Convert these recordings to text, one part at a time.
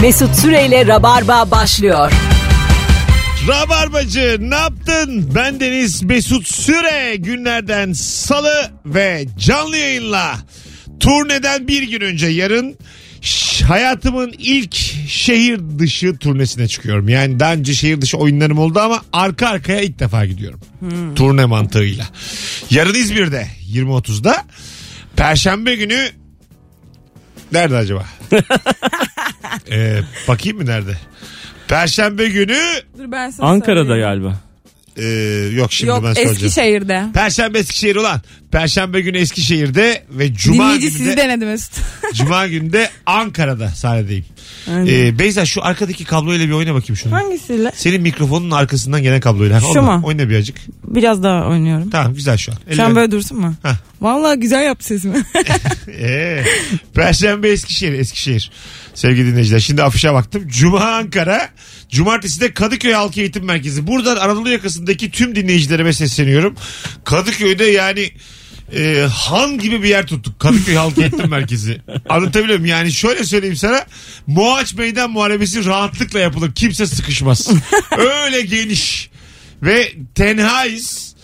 Mesut Süreyle Rabarba başlıyor. Rabarbacı ne yaptın? Ben Deniz Mesut Süre günlerden salı ve canlı yayınla turneden bir gün önce yarın ş- hayatımın ilk şehir dışı turnesine çıkıyorum. Yani daha önce şehir dışı oyunlarım oldu ama arka arkaya ilk defa gidiyorum. Turne mantığıyla. Yarın İzmir'de 20.30'da. Perşembe günü nerede acaba? Ee, bakayım mı nerede? Perşembe günü Dur ben sana Ankara'da söyleyeyim. galiba. ee, yok şimdi Yok ben söyleyeceğim. Eskişehir'de. Perşembe Eskişehir ulan. Perşembe günü Eskişehir'de ve Cuma Dinleyici günü sizi de, denedi Mesut. Cuma günü de Ankara'da sahnedeyim. Ee, Beyza şu arkadaki kabloyla bir oyna bakayım şunu. Hangisiyle? Senin mikrofonun arkasından gelen kabloyla. Şu Onunla mu? Oyna birazcık. Biraz daha oynuyorum. Tamam güzel şu an. Şu Eller- an böyle dursun mu? Hah. Vallahi güzel yaptı sesimi. Ee, Perşembe Eskişehir, Eskişehir. Sevgili dinleyiciler şimdi afişe baktım. Cuma Ankara, Cumartesi de Kadıköy Halk Eğitim Merkezi. Buradan Anadolu yakasındaki tüm dinleyicilerime sesleniyorum. Kadıköy'de yani e, han gibi bir yer tuttuk. Kadıköy Halk Eğitim Merkezi. Anlatabiliyor muyum? Yani şöyle söyleyeyim sana. Moğaç Meydan Muharebesi rahatlıkla yapılır. Kimse sıkışmaz. Öyle geniş. Ve tenhayız.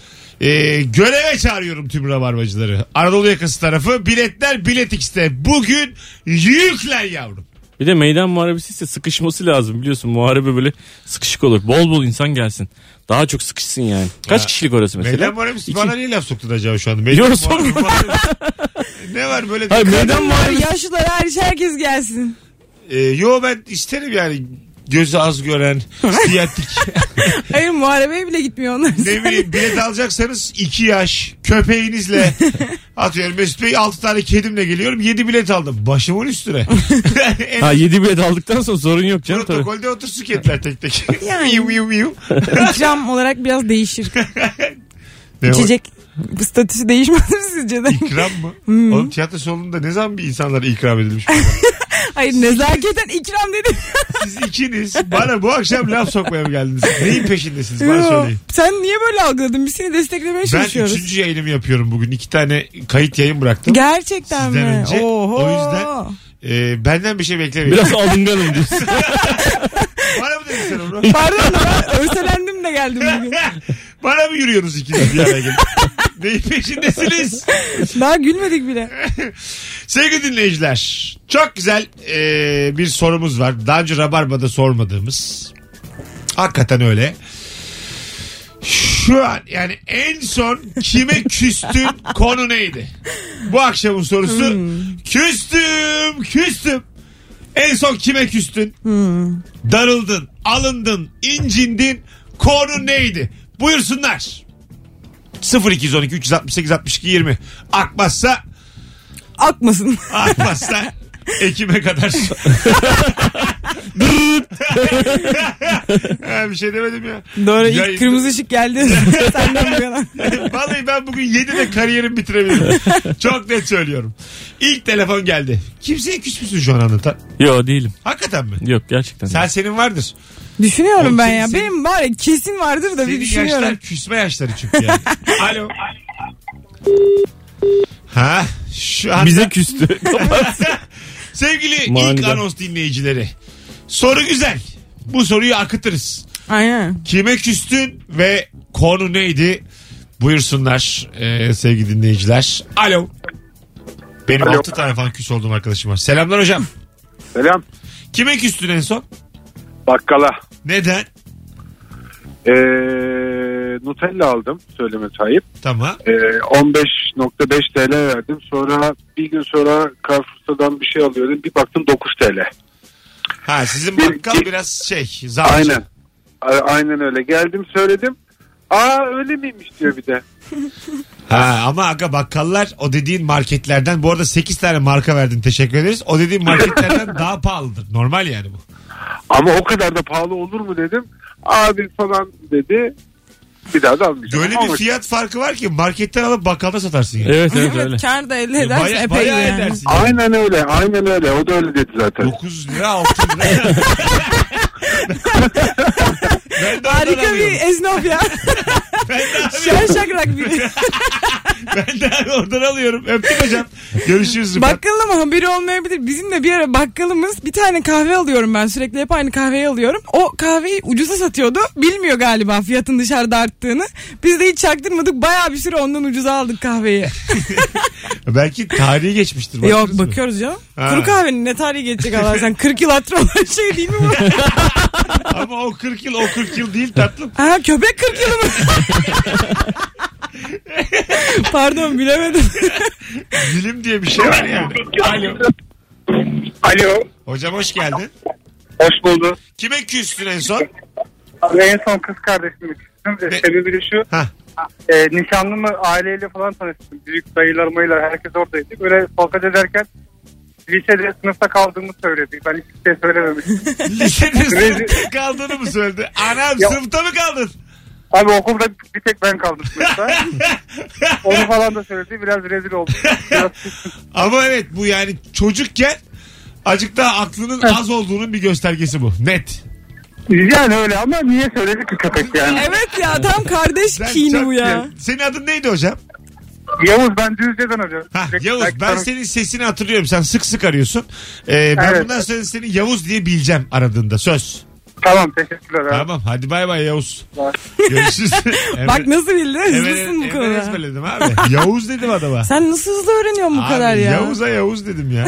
Ee, göreve çağırıyorum tüm rabarbacıları. Anadolu yakası tarafı. Biletler Bilet X'te. Bugün yüklen yavrum. Bir de meydan muharebesi ise sıkışması lazım biliyorsun. Muharebe böyle sıkışık olur. Bol bol insan gelsin. Daha çok sıkışsın yani. Kaç Ha. kişilik orası mesela? Meydan muharebesi İki- bana niye laf soktun acaba şu anda? Meydan Yok, muharebesi- muharebesi- ne var böyle? Hayır, bir- meydan muharebesi. Yaşlılar hariç herkes gelsin. Ee, yo ben isterim yani gözü az gören, siyatik. Hayır muharebeye bile gitmiyor onlar. ne bileyim bilet alacaksanız 2 yaş köpeğinizle atıyorum Mesut Bey 6 tane kedimle geliyorum 7 bilet aldım. Başımın üstüne. En Ha 7 bilet aldıktan sonra sorun yok canım tabii. Protokolde otursun kediler tek tek. Yani. Miyu miyu miyu. İkram olarak biraz değişir. Ne o? İçecek bu statüsü değişmez mi sizce de? İkram mı? Oğlum tiyatro salonunda ne zaman bir insanlara ikram edilmiş? Hayır nezaketen ikram dedi. Siz ikiniz bana bu akşam laf sokmaya mı geldiniz? Neyin peşindesiniz bana söyleyin. Sen niye böyle algıladın? Biz seni desteklemeye Ben çalışıyoruz. üçüncü yayınımı yapıyorum bugün. İki tane kayıt yayın bıraktım. Gerçekten Sizden mi? önce. O yüzden- Ee, benden bir şey beklemeyin. Biraz alınganım diyorsun. Bana mı dedin sen onu? Pardon da ben örselendim de geldim bugün. bana mı yürüyorsunuz ikiniz bir araya gelip? Neyin peşindesiniz? Daha gülmedik bile. Sevgili dinleyiciler çok güzel e, bir sorumuz var. Daha önce Rabarba'da sormadığımız. Hakikaten öyle. Şu an yani en son kime küstün konu neydi? Bu akşamın sorusu küstüm küstüm. En son kime küstün? Darıldın, alındın, incindin. Konu neydi? Buyursunlar. 0212 368 62 20 akmazsa Akmasın. Akmazsa Ekim'e kadar. ha, bir şey demedim ya. Doğru ilk Yayın- kırmızı ışık geldi. Senden bu yana. Vallahi ben bugün 7'de kariyerimi bitirebilirim. Çok net söylüyorum. İlk telefon geldi. Kimseye küsmüşsün şu an anlatan. Yo değilim. Hakikaten mi? Yok gerçekten. Sen senin vardır. Düşünüyorum Oğlum ben senin- ya. senin- Benim var ya kesin vardır da bir Senin düşünüyorum. yaşlar küsme yaşları çünkü yani. Alo. Ha şu an Bize küstü. Kapatsın. sevgili ilk Manidar. anons dinleyicileri. Soru güzel. Bu soruyu akıtırız. Aynen. Kime küstün ve konu neydi? Buyursunlar e, sevgili dinleyiciler. Alo. Benim altı tane falan küs olduğum arkadaşım var. Selamlar hocam. Selam. Kime küstün en son? Bakkala. Neden? Ee, Nutella aldım söyleme sahip. Tamam. Ee, 15.5 TL verdim. Sonra bir gün sonra Carrefour'dan bir şey alıyordum. Bir baktım 9 TL. Ha sizin bakkal biraz şey. Zavcı. Aynen. A- Aynen öyle. Geldim söyledim. Aa öyle miymiş diyor bir de. Ha ama aga bakkallar o dediğin marketlerden bu arada 8 tane marka verdin teşekkür ederiz. O dediğin marketlerden daha pahalıdır. Normal yani bu. Ama o kadar da pahalı olur mu dedim. Abi falan dedi. Bir daha da almayacağım. Böyle Ama bir fiyat farkı var ki marketten alıp bakkalda satarsın yani. evet evet öyle. Kar da elde Baya- edersin bayağı epey yani. edersin yani. Aynen öyle. Aynen öyle. O da öyle dedi zaten. 9 lira 6 lira. ben de oradan Harika bir alıyorum. esnaf ya. Ben de alamıyorum. Şen şakrak biri. ben de abi oradan alıyorum. Öptük hocam. Görüşürüz. Süper. Bakkal ama haberi olmayabilir. Bizim de bir ara bakkalımız bir tane kahve alıyorum ben sürekli hep aynı kahveyi alıyorum. O kahveyi ucuza satıyordu. Bilmiyor galiba fiyatın dışarıda arttığını. Biz de hiç çaktırmadık bayağı bir süre ondan ucuza aldık kahveyi. Belki tarihi geçmiştir. Yok baktınız mı? bakıyoruz canım. Ha. Kuru kahvenin ne tarihi geçecek Allah sen 40 yıl hatırı olan şey değil mi bu? Ama o 40 yıl o 40 yıl değil tatlım. Ha köpek 40 yılı mı? Pardon bilemedim. Bilim diye bir şey var yani. Alo. Alo. Hocam hoş geldin. Hoş bulduk. Kime küstün en son? Abi en son kız kardeşimi küstüm. Ne? E, Sebebi de şu. Hah. E, nişanlımı aileyle falan tanıştım. Büyük dayılar mayılar herkes oradaydı. Böyle sohbet ederken lisede sınıfta kaldığımı söyledi. Ben hiçbir şey söylememiştim. Lisenin sınıfta kaldığını mı söyledi? Anam Ya- sınıfta mı kaldın? Abi okulda bir tek ben kaldım sınıfta. Onu falan da söyledi. Biraz rezil oldum. Biraz Ama evet bu yani çocukken acık daha aklının az olduğunun bir göstergesi bu. Net. Yani öyle ama niye söyledi ki köpek yani? evet ya tam kardeş Sen kini çok- bu ya. Senin adın neydi hocam? Yavuz ben Düzce'den arıyorum. Ha, Direkt- Yavuz direkt ben tanım- senin sesini hatırlıyorum. Sen sık sık arıyorsun. Ee, ben Evet. bundan sonra seni Yavuz diye bileceğim aradığında. Söz. Tamam teşekkürler abi. Tamam hadi bay bay Yavuz. Bye. Görüşürüz. Bak nasıl bildi hızlısın Hemen, bu hemen konuda. ezberledim abi. Yavuz dedim adama. Sen nasıl hızlı öğreniyorsun bu Abi, kadar ya? Yavuz'a Yavuz dedim ya.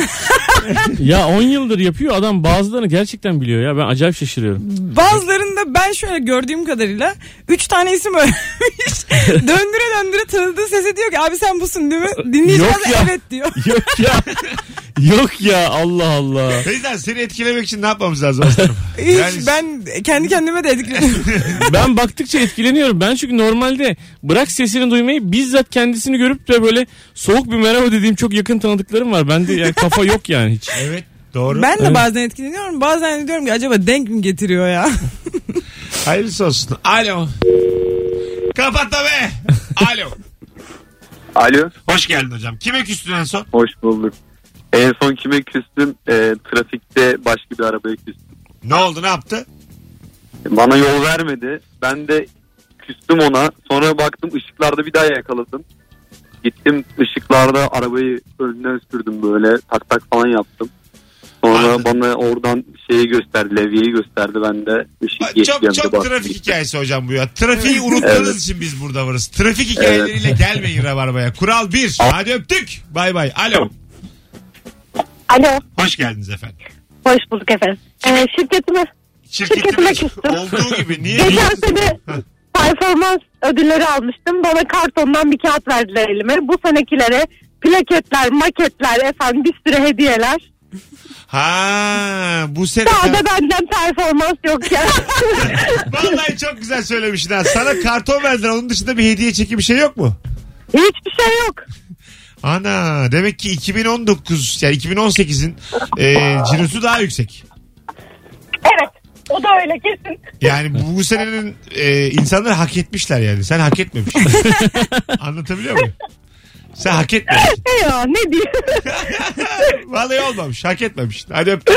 Ya 10 yıldır yapıyor adam bazılarını gerçekten biliyor ya ben acayip şaşırıyorum. Hmm. Bazılarında ben şöyle gördüğüm kadarıyla 3 tane isim öğrenmiş. döndüre döndüre tanıdığı sese diyor ki abi sen busun değil mi? Dinleyici Yok bazen ya. evet diyor. Yok ya. Yok ya Allah Allah. Beyza seni etkilemek için ne yapmamız lazım aslanım? Hiç Yani- ben kendi kendime de etkiledim. Ben baktıkça etkileniyorum. Ben çünkü normalde bırak sesini duymayı bizzat kendisini görüp de böyle soğuk bir merhaba dediğim çok yakın tanıdıklarım var. Bende yani kafa yok yani hiç. Evet doğru. ben de Evet. bazen etkileniyorum. Bazen de diyorum ki acaba denk mi getiriyor ya? Hayırlısı olsun. Alo. Kapat da be. Alo. Alo, Hoş geldin hocam. Kime küstün en son? hoş bulduk. En son kime küstüm? Ee, trafikte başka bir arabaya küstüm. Ne oldu ne yaptı? Bana yol vermedi. Ben de küstüm ona. Sonra baktım ışıklarda bir daha yakaladım. Gittim ışıklarda arabayı önüne sürdüm böyle. Tak tak falan yaptım. Sonra Anladım. bana oradan şeyi gösterdi, levyeyi gösterdi. Ben de ışık geçti. Çok çok trafik hikayesi hocam bu ya. Trafiği unuttuğunuz Evet. için biz burada varız. Trafik hikayeleriyle gelmeyin Rabarba'ya. Kural bir. Hadi öptük. Bay bay. Alo. Alo, Hoş geldiniz efendim. hoş bulduk efendim. Ee, şirketime Şirketime Şirketime küstüm. olduğu gibi. Niye? geçen sene performans ödülleri almıştım. Bana kartondan bir kağıt verdiler elime. Bu senekilere plaketler, maketler, efendim bir sürü hediyeler. Ha bu sene. Daha da benden performans yok ya. Vallahi çok güzel söylemişsin ha. Sana karton verdiler. Onun dışında bir hediye çeki bir şey yok mu? Hiçbir şey yok. Ana demek ki 2019 yani 2018'in e, cirosu daha yüksek. Evet, o da öyle kesin. Yani bu, bu senenin e, insanları hak etmişler yani. Sen hak etmemişsin. Anlatabiliyor muyum? Sen hak etmemişsin. Ne E ya, ne diyeyim? Vallahi olmamış. Hak etmemişsin. Hadi öptüm.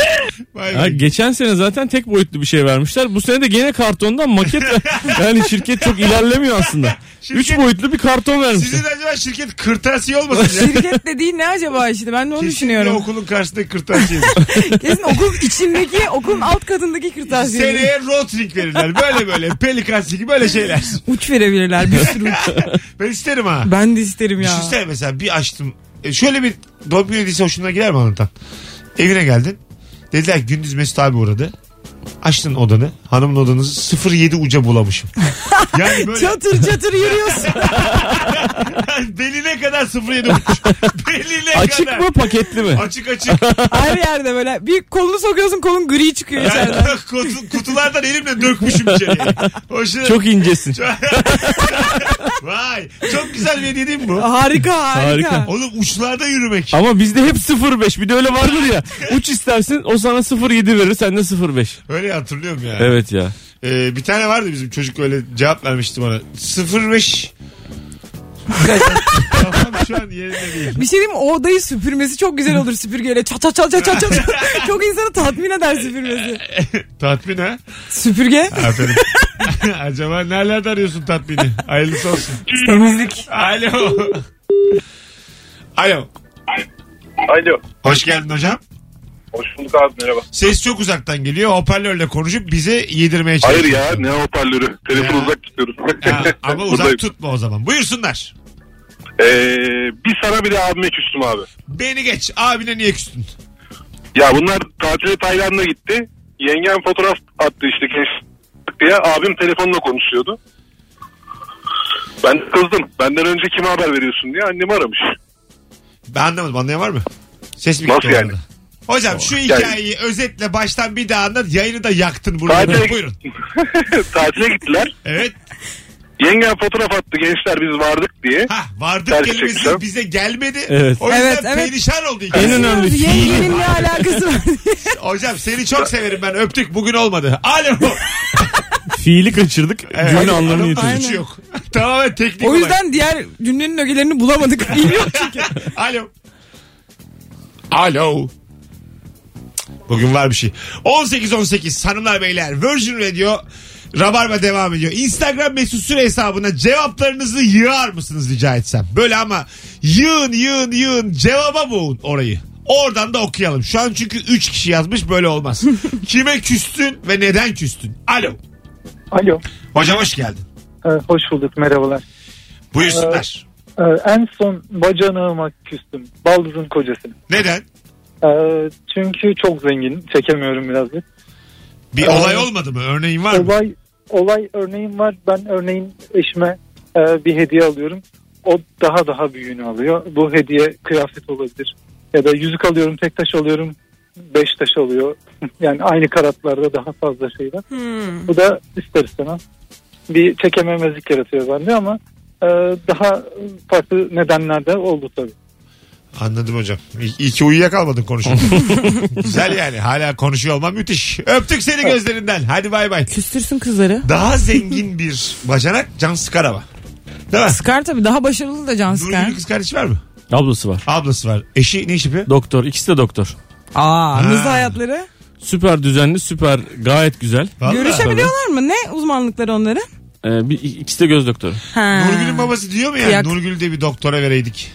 Bay Ha, bay. geçen sene zaten tek boyutlu bir şey vermişler. Bu sene de gene kartondan maket. yani şirket çok ilerlemiyor aslında. Şirket- Üç boyutlu bir karton vermişler. Sizin acaba şirket kırtasiye olmasın ya? Şirket dediği ne acaba işte ben de onu Kesinlikle düşünüyorum. okulun karşısındaki kırtasiye. Kesin okul içindeki okulun alt katındaki kırtasiye. Seneye Rotring verirler. Böyle böyle. Pelikan gibi böyle şeyler. Uç verebilirler bir sürü uç. Ben isterim ha. Ben de isterim ya. Düşünsene mesela bir açtım. E, şöyle bir doğum günü hediyesi hoşuna gider mi Anlatan? Evine geldin. Dediler ki gündüz Mesut abi uğradı. Açtın odanı. Hanımın odanızı 07 uca bulamışım. Yani böyle Çatır çatır yürüyorsun. beline kadar 07 uç. Beline Açık kadar. mı paketli mi? Açık açık. Her yerde böyle bir kolunu sokuyorsun kolun gri çıkıyor Yani içeriden. kutu- kutulardan elimle dökmüşüm içeriye. Hoşuna. Çok incesin. Vay. Çok güzel bir hediye değil mi bu? Ah. Harika harika. Harika. Oğlum uçlarda yürümek. Ama bizde hep 05 bir de öyle vardır ya. Uç istersin o sana 07 verir sen de 05. Öyle hatırlıyorum yani. Evet ya. Ee, bir tane vardı bizim çocuk öyle cevap vermişti bana. 05 Kafam şu an yerinde değil. Bir şey diyeyim mi? O odayı süpürmesi çok güzel olur süpürgeyle. Çat çat çat çat çat çat. çok insanı tatmin eder süpürmesi. Tatmin ha? Süpürge. Aferin. Acaba nerelerde arıyorsun tatmini? Hayırlısı olsun. Temizlik. Alo. Alo. Alo. Hoş geldin hocam. Hoş bulduk abi merhaba. Ses çok uzaktan geliyor. Hoparlörle konuşup bize yedirmeye Hayır çalışıyorsun. ya ne hoparlörü. Telefonu Ya. uzak tutuyoruz. Ha, ama Buradayım. uzak tutma o zaman. Buyursunlar. Ee, bir sana bir de abime küstüm abi. Beni geç. Abine niye küstün? Ya bunlar tatile Tayland'a gitti. Yengem fotoğraf attı işte genç diye. Abim telefonla konuşuyordu. Ben de kızdım. Benden önce kime haber veriyorsun diye annemi aramış. Ben anlamadım. Anlayan var mı? Ses mi Nasıl gitti o yani? arada? Hocam şu Yani- hikayeyi özetle baştan bir daha anlat. Yayını da yaktın burada. Tatile, Buyurun. tatile gittiler. Evet. Yengem fotoğraf attı gençler biz vardık diye. Ha vardık Ters kelimesi çekeceğim. bize gelmedi. Evet. O yüzden Evet, evet. perişan oldu En hikaye. önemli şey. Yengenin ne alakası var? Hocam seni çok severim ben. Öptük. Bugün olmadı. Alo. Fiili kaçırdık. Evet. Cümle anlamını Adamın yitirdik. suçu yok. Tamamen teknik o olay. yüzden diğer cümlenin ögelerini bulamadık. Bilmiyorum çünkü. Alo. Alo. Bugün var bir şey. 18-18 hanımlar beyler Virgin Radio Rabarba devam ediyor. Instagram mesut süre hesabına cevaplarınızı yığar mısınız rica etsem? Böyle ama yığın yığın yığın cevaba boğun orayı. Oradan da okuyalım. Şu an çünkü 3 kişi yazmış böyle olmaz. Kime küstün ve neden küstün? Alo. Alo. Hocam hoş geldin. Ee, hoş bulduk merhabalar. Buyursunlar. Ee, en son bacanağıma küstüm. Baldız'ın kocasını. Neden? Ee, çünkü çok zengin. Çekemiyorum birazcık. Bir olay olmadı mı? Örneğin var mı? e, Olay, olay örneğin var. Ben örneğin eşime e, bir hediye alıyorum. O daha daha büyüğünü alıyor. Bu hediye kıyafet olabilir. Ya da yüzük alıyorum, tek taş alıyorum. Beş taş alıyor. yani aynı karatlarda daha fazla şey var. Bu da ister istemez bir çekememezlik yaratıyor bende ama e, daha farklı nedenlerde oldu tabii. Anladım hocam. İyi, iyi ki uyuyakalmadın konuşurken. Güzel yani. Hala konuşuyor olman müthiş. Öptük seni gözlerinden. Hadi bay bay. Küstürsün kızları. Daha zengin bir bacanak Can Sıkar ama. Değil mi? Sıkar tabii daha başarılı da can sıkar. Nurgül'ün kız kardeşi var mı? Ablası var. Ablası var. Eşi ne iş yapıyor? Doktor. ikisi de doktor. Aa, hızlı Ha. hayatları. Süper düzenli, süper gayet güzel. Vallahi. Görüşebiliyorlar mı? Ne uzmanlıkları onların? Ee, bir, ikisi de göz doktoru. Ha. Nurgül'ün babası diyor mu yani? Kıyak. Nurgül'ü de bir doktora vereydik.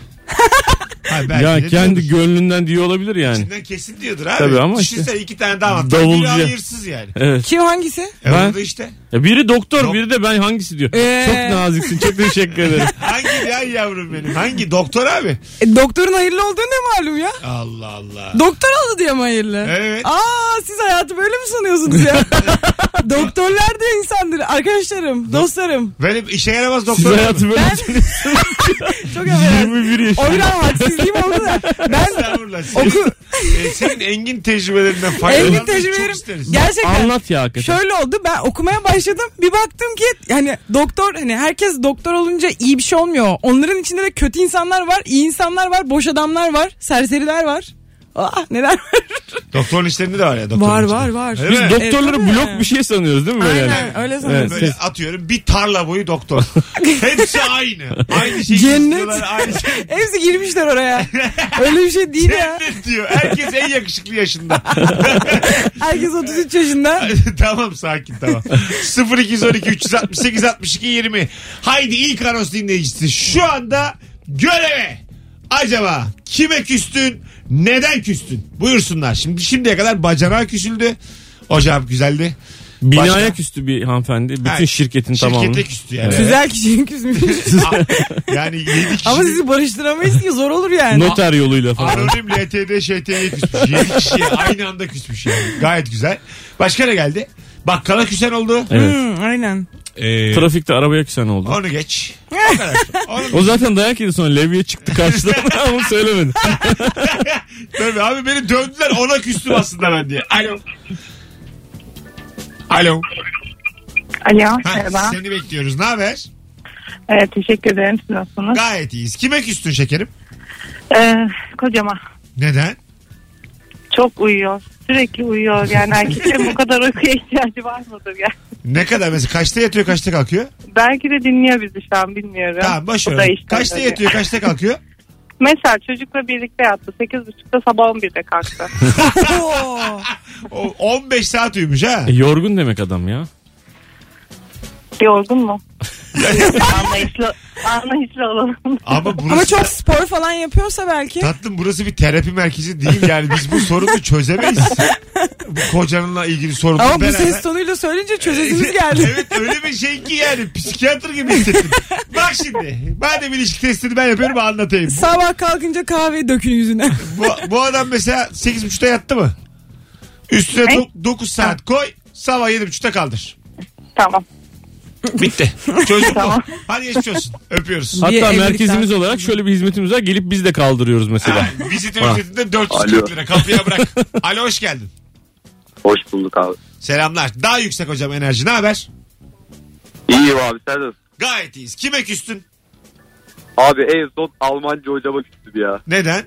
ha, belki ya de kendi diyordur. gönlünden diyor olabilir yani. İçinden kesin diyordur abi. Tabii ama Düşünsene iki tane damat. Davulcu. Davulcu. hayırsız yani. Evet. Kim hangisi? E Ben- orada işte. Ya biri doktor, Dok- biri de ben hangisi diyor. Ee. Çok naziksin. Çok teşekkür ederim. Hangi ya yavrum benim? Hangi? Doktor abi. E, doktorun hayırlı olduğu ne malum ya? Allah Allah. Doktor aldı diye mi hayırlı? Evet. Aa siz hayatı böyle mi sanıyorsunuz ya? Doktorlar da insandır. Arkadaşlarım, dostlarım. Benim işe yaramaz Siz doktor. var mı? hayatı böyle Çok evvel. 21 O yaşında. biraz hadsizliğim oldu da. Ben Estağfurullah. Senin, oku, e, senin engin tecrübelerinden faydalanmayı evlilik çok tecrübelerim. isteriz. Gerçekten. Anlat ya hakikaten. Şöyle oldu ben okumaya başladım bir baktım ki yani doktor hani herkes doktor olunca iyi bir şey olmuyor. Onların içinde de kötü insanlar var, iyi insanlar var, boş adamlar var, serseriler var. Ah neler var. Doktorun işlerinde de var ya. Doktorun Var içinde. var var. Öyle Biz mi? doktorları Evet, tabii. blok bir şey sanıyoruz değil mi böyle? yani? Aynen öyle sanırım. Evet. Böyle atıyorum bir tarla boyu doktor. Hepsi aynı. Aynı şeyi Cennet. istiyorlar, Aynı şey. Hepsi girmişler oraya. Öyle bir şey değil ya. Cennet diyor. Herkes en yakışıklı yaşında. Herkes 33 yaşında. tamam sakin tamam. 0212 368 62 20. Haydi ilk anons dinleyicisi. Şu anda göreve. Acaba kime küstün? Neden küstün? Buyursunlar. Şimdi şimdiye kadar bacanağa küsüldü. Hocam güzeldi. Binaya Başka? küstü bir hanımefendi. Bütün Ha, şirketin Şirkete tamamı. küstü yani. Güzel kişi küsmüş. A- yani 7 kişi. Ama sizi barıştıramayız ki zor olur yani. Noter yoluyla falan. Anonim LTD ŞT'ye küsmüş. 7 kişi aynı anda küsmüş yani. Gayet güzel. Başka ne geldi? Bakkala küsen oldu. Evet. Hı, Hmm, aynen. Ee, Trafikte arabaya küsen oldu. onu geç. O kadar. Onu O zaten dayak yedi sonra levye çıktı karşıdan ama söylemedi. Tabii abi beni dövdüler ona küstüm aslında ben diye. Alo. Alo. Alo Ha, merhaba. seni bekliyoruz. Ne haber? Evet, teşekkür ederim siz nasılsınız? Gayet iyiyiz. Kime küstün şekerim? Ee, kocama Neden? çok uyuyor. sürekli uyuyor. Yani erkeklerin bu kadar uykuya ihtiyacı var mıdır? Yani Ne kadar mesela kaçta yatıyor kaçta kalkıyor? belki de dinliyor bizi şu an bilmiyorum. Tamam boş Bu da ver. işte Kaçta tabii. yatıyor kaçta kalkıyor? Mesela çocukla birlikte yattı. 8.30'da sabah 11'de kalktı. Oo. O, 15 saat uyumuş ha. E, yorgun demek adam ya. Yorgun mu? anlayışlı, anlayışlı olalım. Ama burası Ama çok spor falan yapıyorsa belki. Tatlım burası bir terapi merkezi değil yani biz bu sorunu çözemeyiz. bu kocanınla ilgili sorunu Ama bu beraber- ses tonuyla söyleyince çözesimiz geldi. evet öyle bir şey ki yani psikiyatr gibi hissettim. Bak şimdi madem ilişki testini ben yapıyorum anlatayım. Sabah kalkınca kahve dökün yüzüne. Bu, bu adam mesela 8.30'da yattı mı? Üstüne 9 saat koy sabah 7.30'da kaldır. tamam. Bitti. Çocuk bu. Tamam. Hadi geçmiş olsun. Öpüyoruz. Bir Hatta evlilikten merkezimiz sonra. olarak şöyle bir hizmetimiz var. Gelip biz de kaldırıyoruz mesela. Vizit Ha. ücretinde 440 Alo. lira kapıya bırak. Alo hoş geldin. Hoş bulduk abi. Selamlar. Daha yüksek hocam enerji. Ne haber? İyiyim abi sen de. Gayet iyiyiz. Kime küstün? Abi en son Almanca hocama küstüm ya. Neden?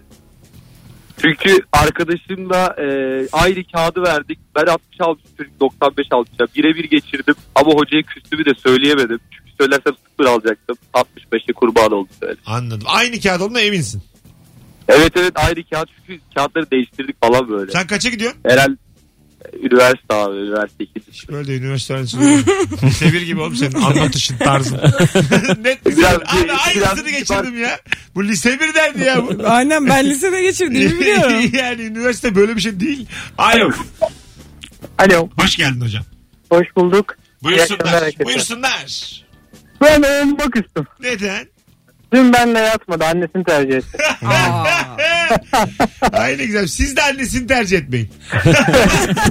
Çünkü arkadaşımla e, aynı kağıdı verdik. Ben 60 almışım çocuk 95 almış. Ya Birebir geçirdim ama hocaya küstümü de söyleyemedim. Çünkü söylersem 0 alacaktım. 65'e kurban oldu böyle. Anladım. Aynı kağıt olduğuna eminsin. Evet evet aynı kağıt çünkü kağıtları değiştirdik falan böyle. Sen kaça gidiyorsun? Herhalde e, üniversite abi üniversite 2. Böyle de üniversite öğrencisi. oluyorum. Lise bir gibi oğlum senin anlatışın tarzın. Net bir Biraz- Abi biraz- aynısını geçirdim ya. Bu lise bir derdi ya bu. Aynen ben lisede geçirdiğimi biliyorum. yani üniversite böyle bir şey değil. Alo. Alo. Hoş geldin hocam. Hoş bulduk. İyi akşamlar Buyursunlar. herkese. Buyursunlar. Ben evime küstüm. Neden? Dün benle yatmadı annesini tercih etti. Aynı güzel. Siz de annesini tercih etmeyin.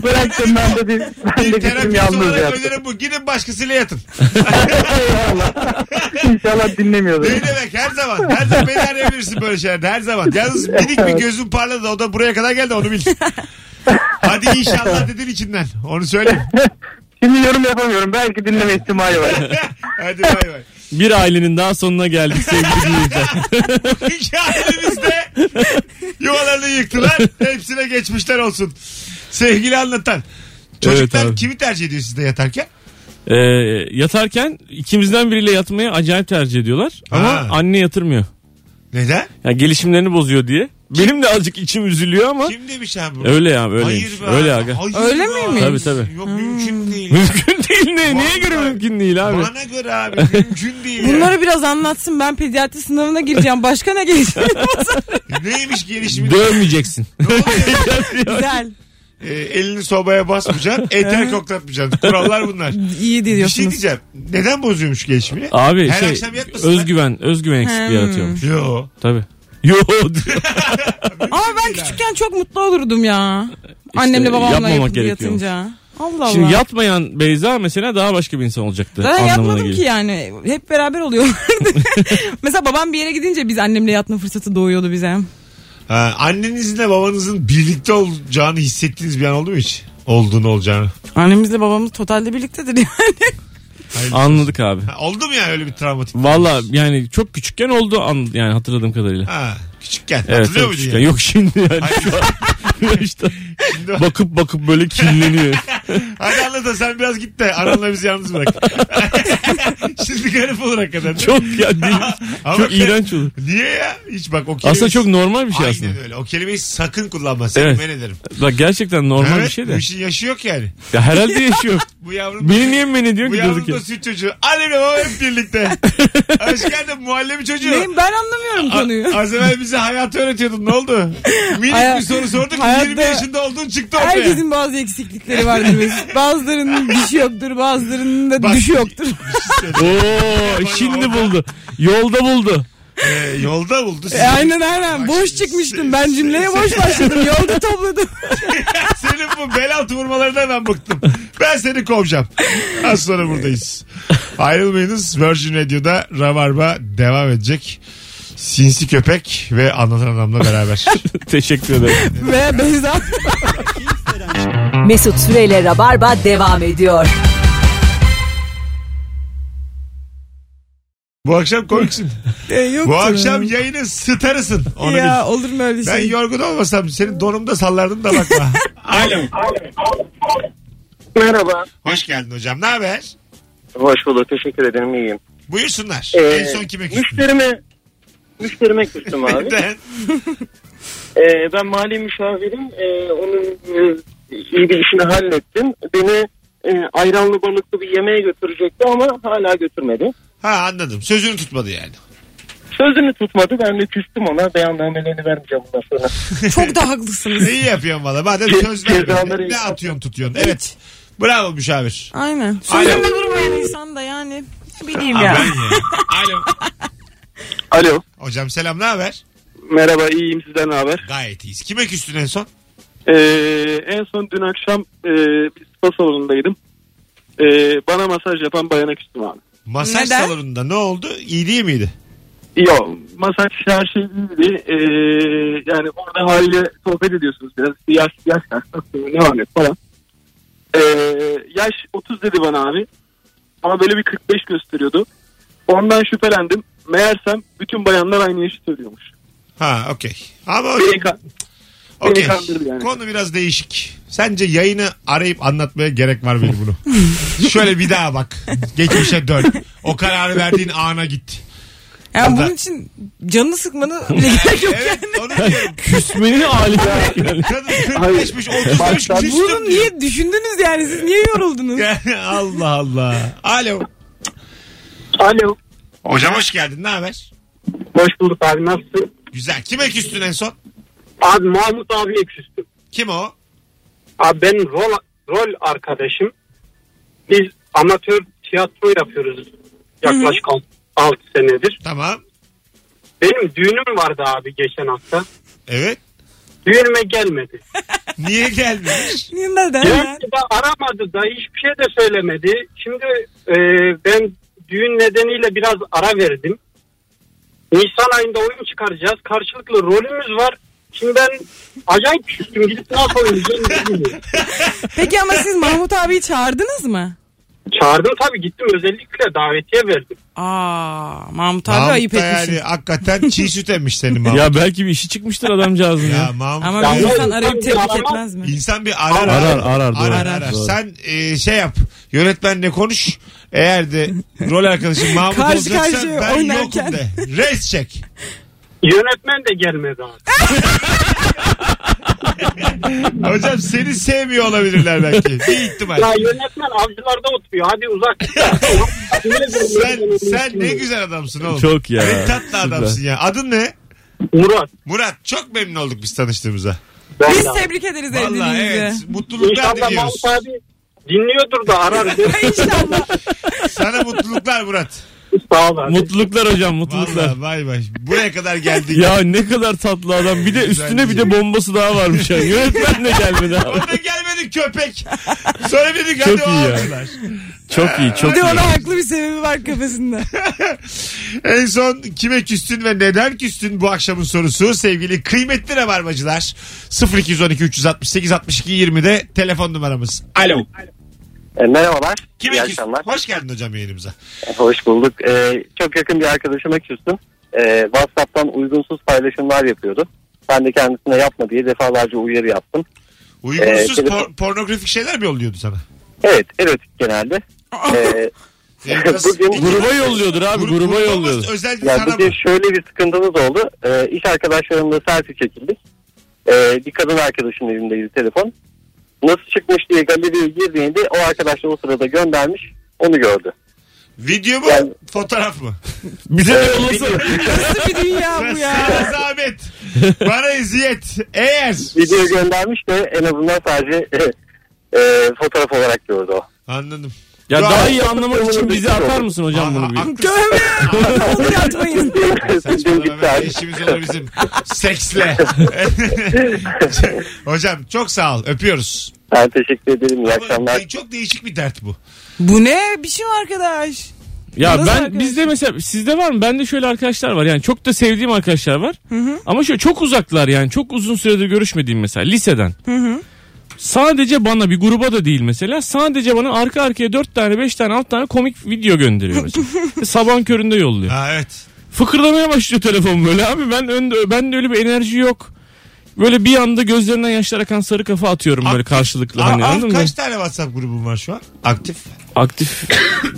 Bıraktım ben de, bir- ben de Bir gittim terapist yalnız olarak yattım. önerim bu. Gidin başkasıyla yatın. Eyvallah. İnşallah dinlemiyordur. Ne demek her zaman. Her zaman beni arayabilirsin böyle şeylerde her zaman. Yalnız minik bir gözün parladı o da buraya kadar geldi onu bil. Hadi inşallah dedin içinden. Onu söyle. Şimdi yorum yapamıyorum. Belki dinleme ihtimali var. Hadi bay bay. bir ailenin daha sonuna geldik sevgili dinleyiciler. Hikayemizde yuvalarını yıktılar. Hepsine geçmişler olsun. Sevgili anlatan. Çocuklar Evet abi. kimi tercih ediyor sizde yatarken? Ee, yatarken ikimizden biriyle yatmayı acayip tercih ediyorlar. Ama Ha. anne yatırmıyor. Neden? Yani gelişimlerini bozuyor diye. Benim de azıcık içim üzülüyor ama. Kim demiş abi bunu? Öyle ya öyle. Hayır be Öyle abi. aga. Hayır Öyle be miymiş? abi. Tabii, tabii. Yok mümkün değil. Mümkün değil ne? Neye Vallahi. göre mümkün değil abi? Bana göre abi mümkün değil. ya. Bunları biraz anlatsın ben pediatri sınavına gireceğim. Başka ne gelecek? Neymiş gelişimi? Dövmeyeceksin. Ne oluyor? Güzel. E, elini sobaya basmayacaksın. Eter koklatmayacaksın. Kurallar bunlar. İyi Bir şey diyorsunuz. diyeceğim. Neden bozuyormuş gelişimini? Abi Her şey akşam yatmasın özgüven, özgüven eksikliği Hmm. yaratıyormuş. Yo. Tabii. Yo. Ama ben küçükken çok mutlu olurdum ya. Annemle babamla yapmamak yapıp gerekiyormuş. yatınca. Allah Allah. Şimdi yatmayan Beyza mesela daha başka bir insan olacaktı. Zaten anlamına yatmadım geliyor. ki yani. Hep beraber oluyorlardı. Mesela babam bir yere gidince biz annemle yatma fırsatı doğuyordu bize. Ha, annenizle babanızın birlikte olacağını hissettiğiniz bir an oldu mu hiç? Olduğunu olacağını. Annemizle babamız totalde birliktedir yani. Hayırlısı. Anladık abi. Ha, oldu mu yani öyle bir travmatik? Valla yani çok küçükken oldu an, yani hatırladığım kadarıyla. Ha, küçükken. Evet, Hatırlıyor çok muydun küçükken. yani? Yok şimdi yani şu an işte bakıp bakıp böyle kinleniyor. Hadi anlat da sen biraz git de ananla bizi yalnız bırak. Şimdi garip olur hakikaten. çok ya değil. Ama- çok iğrenç olur. Niye ya? Hiç bak o kelime. Aslında çok normal bir şey aslında. Aynen öyle. O kelimeyi sakın kullanma. Seni Evet. men ederim. Bak gerçekten normal evet, bir şey de. Bu işin yaşı yok yani. Ya herhalde yaşıyor. Bu yavrum Beni niye men ediyorsun bu ki yavrum durduk da ya? süt çocuğu. Annemle babam hep birlikte. Hoş geldin muhallebi çocuğu. Neyim ben anlamıyorum A- konuyu. Az evvel bize hayatı öğretiyordun. Ne oldu? Minik Hayat- bir soru sorduk. hayatta- 20 yaşında olduğun çıktı ortaya. Herkesin bazı eksiklikleri vardır. Mesut. Bazılarının dişi yoktur, bazılarının da Bak- düşü yoktur. Oo şimdi buldu. Yolda buldu. Ee, yolda buldu sizi. E, aynen aynen. Bak Boş şimdi çıkmıştım. se- Ben se- cümleye boş başladım. Yolda topladım. Senin bu bel altı vurmalarından ben bıktım. Ben seni kovacağım. Az sonra buradayız. Ayrılmayınız. Virgin Radio'da Rabarba devam edecek. Sinsi Köpek ve Anlatan Adam'la beraber. Teşekkür ederim. Ve Beyza. Mesut Süreyle Rabarba devam ediyor. Bu akşam komiksin. E, yok Bu canım. akşam yayının starısın. Onu bil. ya olur mu öyle Ben şey? yorgun olmasam senin donumda sallardım da bakma. Alo. Merhaba. Hoş geldin hocam. Ne haber? Hoş bulduk. Teşekkür ederim. İyiyim. Buyursunlar. Ee, en son kime küstün? Müşterime, müşterime küstüm abi. Neden? Ee, ben mali müşavirim. Ee, onun e, iyi bir işini hallettim. Beni e, ayranlı balıklı bir yemeğe götürecekti ama hala götürmedi. Ha anladım. Sözünü tutmadı yani. Sözünü tutmadı. Ben de küstüm ona. Beyannamelerini vermeyeceğim bundan sonra. Çok da haklısınız. İyi yapıyorsun valla. Madem Ce- söz vermedin. cezaları- Ne atıyorsun tutuyorsun. Evet. Bravo müşavir. Aynen. Alo. Sözünde durmayan insan da yani. Ne bileyim ya. Ben ya. Alo. Alo. Hocam selam ne haber? Merhaba iyiyim sizden ne haber? Gayet iyiyiz. Kime küstün en son? Ee, en son dün akşam e, bir spa salonundaydım. Ee, bana masaj yapan bayana küstüm abi. Masaj Neden? salonunda ne oldu? İyi değil miydi? Yok masaj her şey iyiydi. Ee, yani orada haliyle sohbet ediyorsunuz biraz. Bir Yaş, yaş hastalığı ne var ne falan. Ee, yaş 30 dedi bana abi. Ama böyle bir 45 gösteriyordu. Ondan şüphelendim. Meğersem bütün bayanlar aynı yaşı söylüyormuş. Ha okey. Ama o- Beni ka- beni okey. kandırdı yani. Konu biraz değişik. Sence yayını arayıp anlatmaya gerek var mıydı bunu? Şöyle bir daha bak. Geçmişe dön. O kararı verdiğin ana git. Yani Hatta- bunun için canını sıkmanı bile gerek yok Evet yani. onu diyorum. Küsmenin hali. Yani. Kadın 45'miş 35 Baştan- küstüm Bunu diyor. niye düşündünüz yani siz niye yoruldunuz? Allah Allah. Alo. Alo. Hocam hoş geldin. Ne haber? Hoş bulduk abi. Nasılsın? Güzel. Kime küstün en son? Abi Mahmut abiye küstüm. Kim o? Abi benim rol, rol arkadaşım. Biz amatör tiyatro yapıyoruz yaklaşık 6 senedir. Tamam. Benim düğünüm vardı abi geçen hafta. Evet. Düğünüme gelmedi. Niye gelmemiş? Niye Neden? Düğünü de aramadı da hiçbir şey de söylemedi. Şimdi e, ben düğün nedeniyle biraz ara verdim. Nisan ayında oyun çıkaracağız. Karşılıklı rolümüz var. Şimdi ben acayip küstüm. Gidip nasıl oynayacağım bilmiyorum. Peki ama siz Mahmut abiyi çağırdınız mı? Çağırdım tabii gittim özellikle davetiye verdim. Aa Mahmut abi Mahmut da ayıp etmişsin. yani hakikaten çiğ süt emmiş senin Mahmut. Ya, ya belki bir işi çıkmıştır adamcağızın ya. Mahmut. Ama da- bir insan Ya- arayıp tebrik Ama- etmez mi? İnsan bir arar Arar, arar. arar, doğru. arar, arar. Doğru. Sen e, şey yap. Yönetmenle konuş. Eğer de rol arkadaşın Mahmut Karşı olacaksa karşıya ben oynarken. yokum de. Res çek. Yönetmen de gelmedi abi. Hocam seni sevmiyor olabilirler belki. Bir ihtimal. Ya yönetmen avcılarda oturuyor. Hadi uzak. sen, sen ne güzel adamsın oğlum. Çok ya. Ne tatlı Süper. adamsın ya. Adın ne? Murat. Murat çok memnun olduk biz tanıştığımıza. Ben Biz de- tebrik ederiz Vallahi evliliğinizi. evet. Mutluluklar İnşallah diliyoruz. Mahmut abi dinliyordur da arar. İnşallah. Sana mutluluklar Murat. Sağ ol abi. Mutluluklar hocam mutluluklar. Vallahi vay vay. Buraya kadar geldin. Ya ne kadar tatlı adam. Bir de üstüne bir şey. de bombası daha varmış ya. Yönetmen de gelmedi abi. Ona gelmedi köpek. Sonra dedik hadi Çok o iyi ya. ağaçlar. Çok iyi çok Bir de iyi. ona haklı bir sebebi var kafasında. En son kime küstün ve neden küstün bu akşamın sorusu sevgili kıymetli rabarbacılar. 0212 368 62 20'de telefon numaramız. Alo. E, merhabalar. Kime İyi küstün? akşamlar. Hoş geldin hocam yayınımıza. E, Hoş bulduk. E, çok yakın bir arkadaşıma küstüm. E, WhatsApp'tan uygunsuz paylaşımlar yapıyordu. Ben de kendisine yapma diye defalarca uyarı yaptım. Uygunsuz Ee, telefon- por- pornografik şeyler mi yolluyordu sana? Evet, erotik genelde. E, Yani Bugün- Ee, nasıl- Gruba Gruba yolluyordur abi Grup- gruba grupta yolluyordur. olmaz, Özel bir ya sana bir mı? de şöyle bir sıkıntımız oldu. E, iş arkadaşlarımla selfie çekildik. E, bir kadın arkadaşımın evindeydi telefon. Nasıl çıkmış diye galeriye girdiğinde o arkadaş da o sırada göndermiş. Onu gördü. Video mu? Yani- Fotoğraf mı? Bize de yollasa. Nasıl bir dünya bu ya? Sana zahmet. Bana eziyet. Eğer. Video göndermiş de en azından sadece e, e, fotoğraf olarak gördü o. Anladım. Ya Bravo. daha iyi anlamak için bize atar mısın hocam Aa, bunu bir? haklısın. Tövbe. Olur yatmayın. Dün Saçmalama gitti be, abi. işimiz olur bizim. Seksle. Hocam çok sağ ol. Öpüyoruz. Ben teşekkür ederim. Ama İyi akşamlar. de- çok değişik bir dert bu. Bu ne biçim arkadaş? Ya Nasıl ben arkadaş? bizde mesela sizde var mı? Bende şöyle arkadaşlar var. Yani çok da sevdiğim arkadaşlar var. Ama şöyle çok uzaklar yani. Çok uzun süredir görüşmediğim mesela liseden. Sadece bana bir gruba da değil mesela. Sadece bana arka arkaya 4 tane 5 tane 6 tane komik video gönderiyor mesela. Sabahın köründe yolluyor. Ha evet. Fıkırdamaya başlıyor telefon böyle abi. Ben önde, ben de öyle bir enerji yok. Böyle bir anda gözlerinden yaşlar akan sarı kafa atıyorum böyle Aktif. karşılıklı. Aa, Hani, aa, anladın mı? kaç tane WhatsApp grubum var şu an? Aktif. Aktif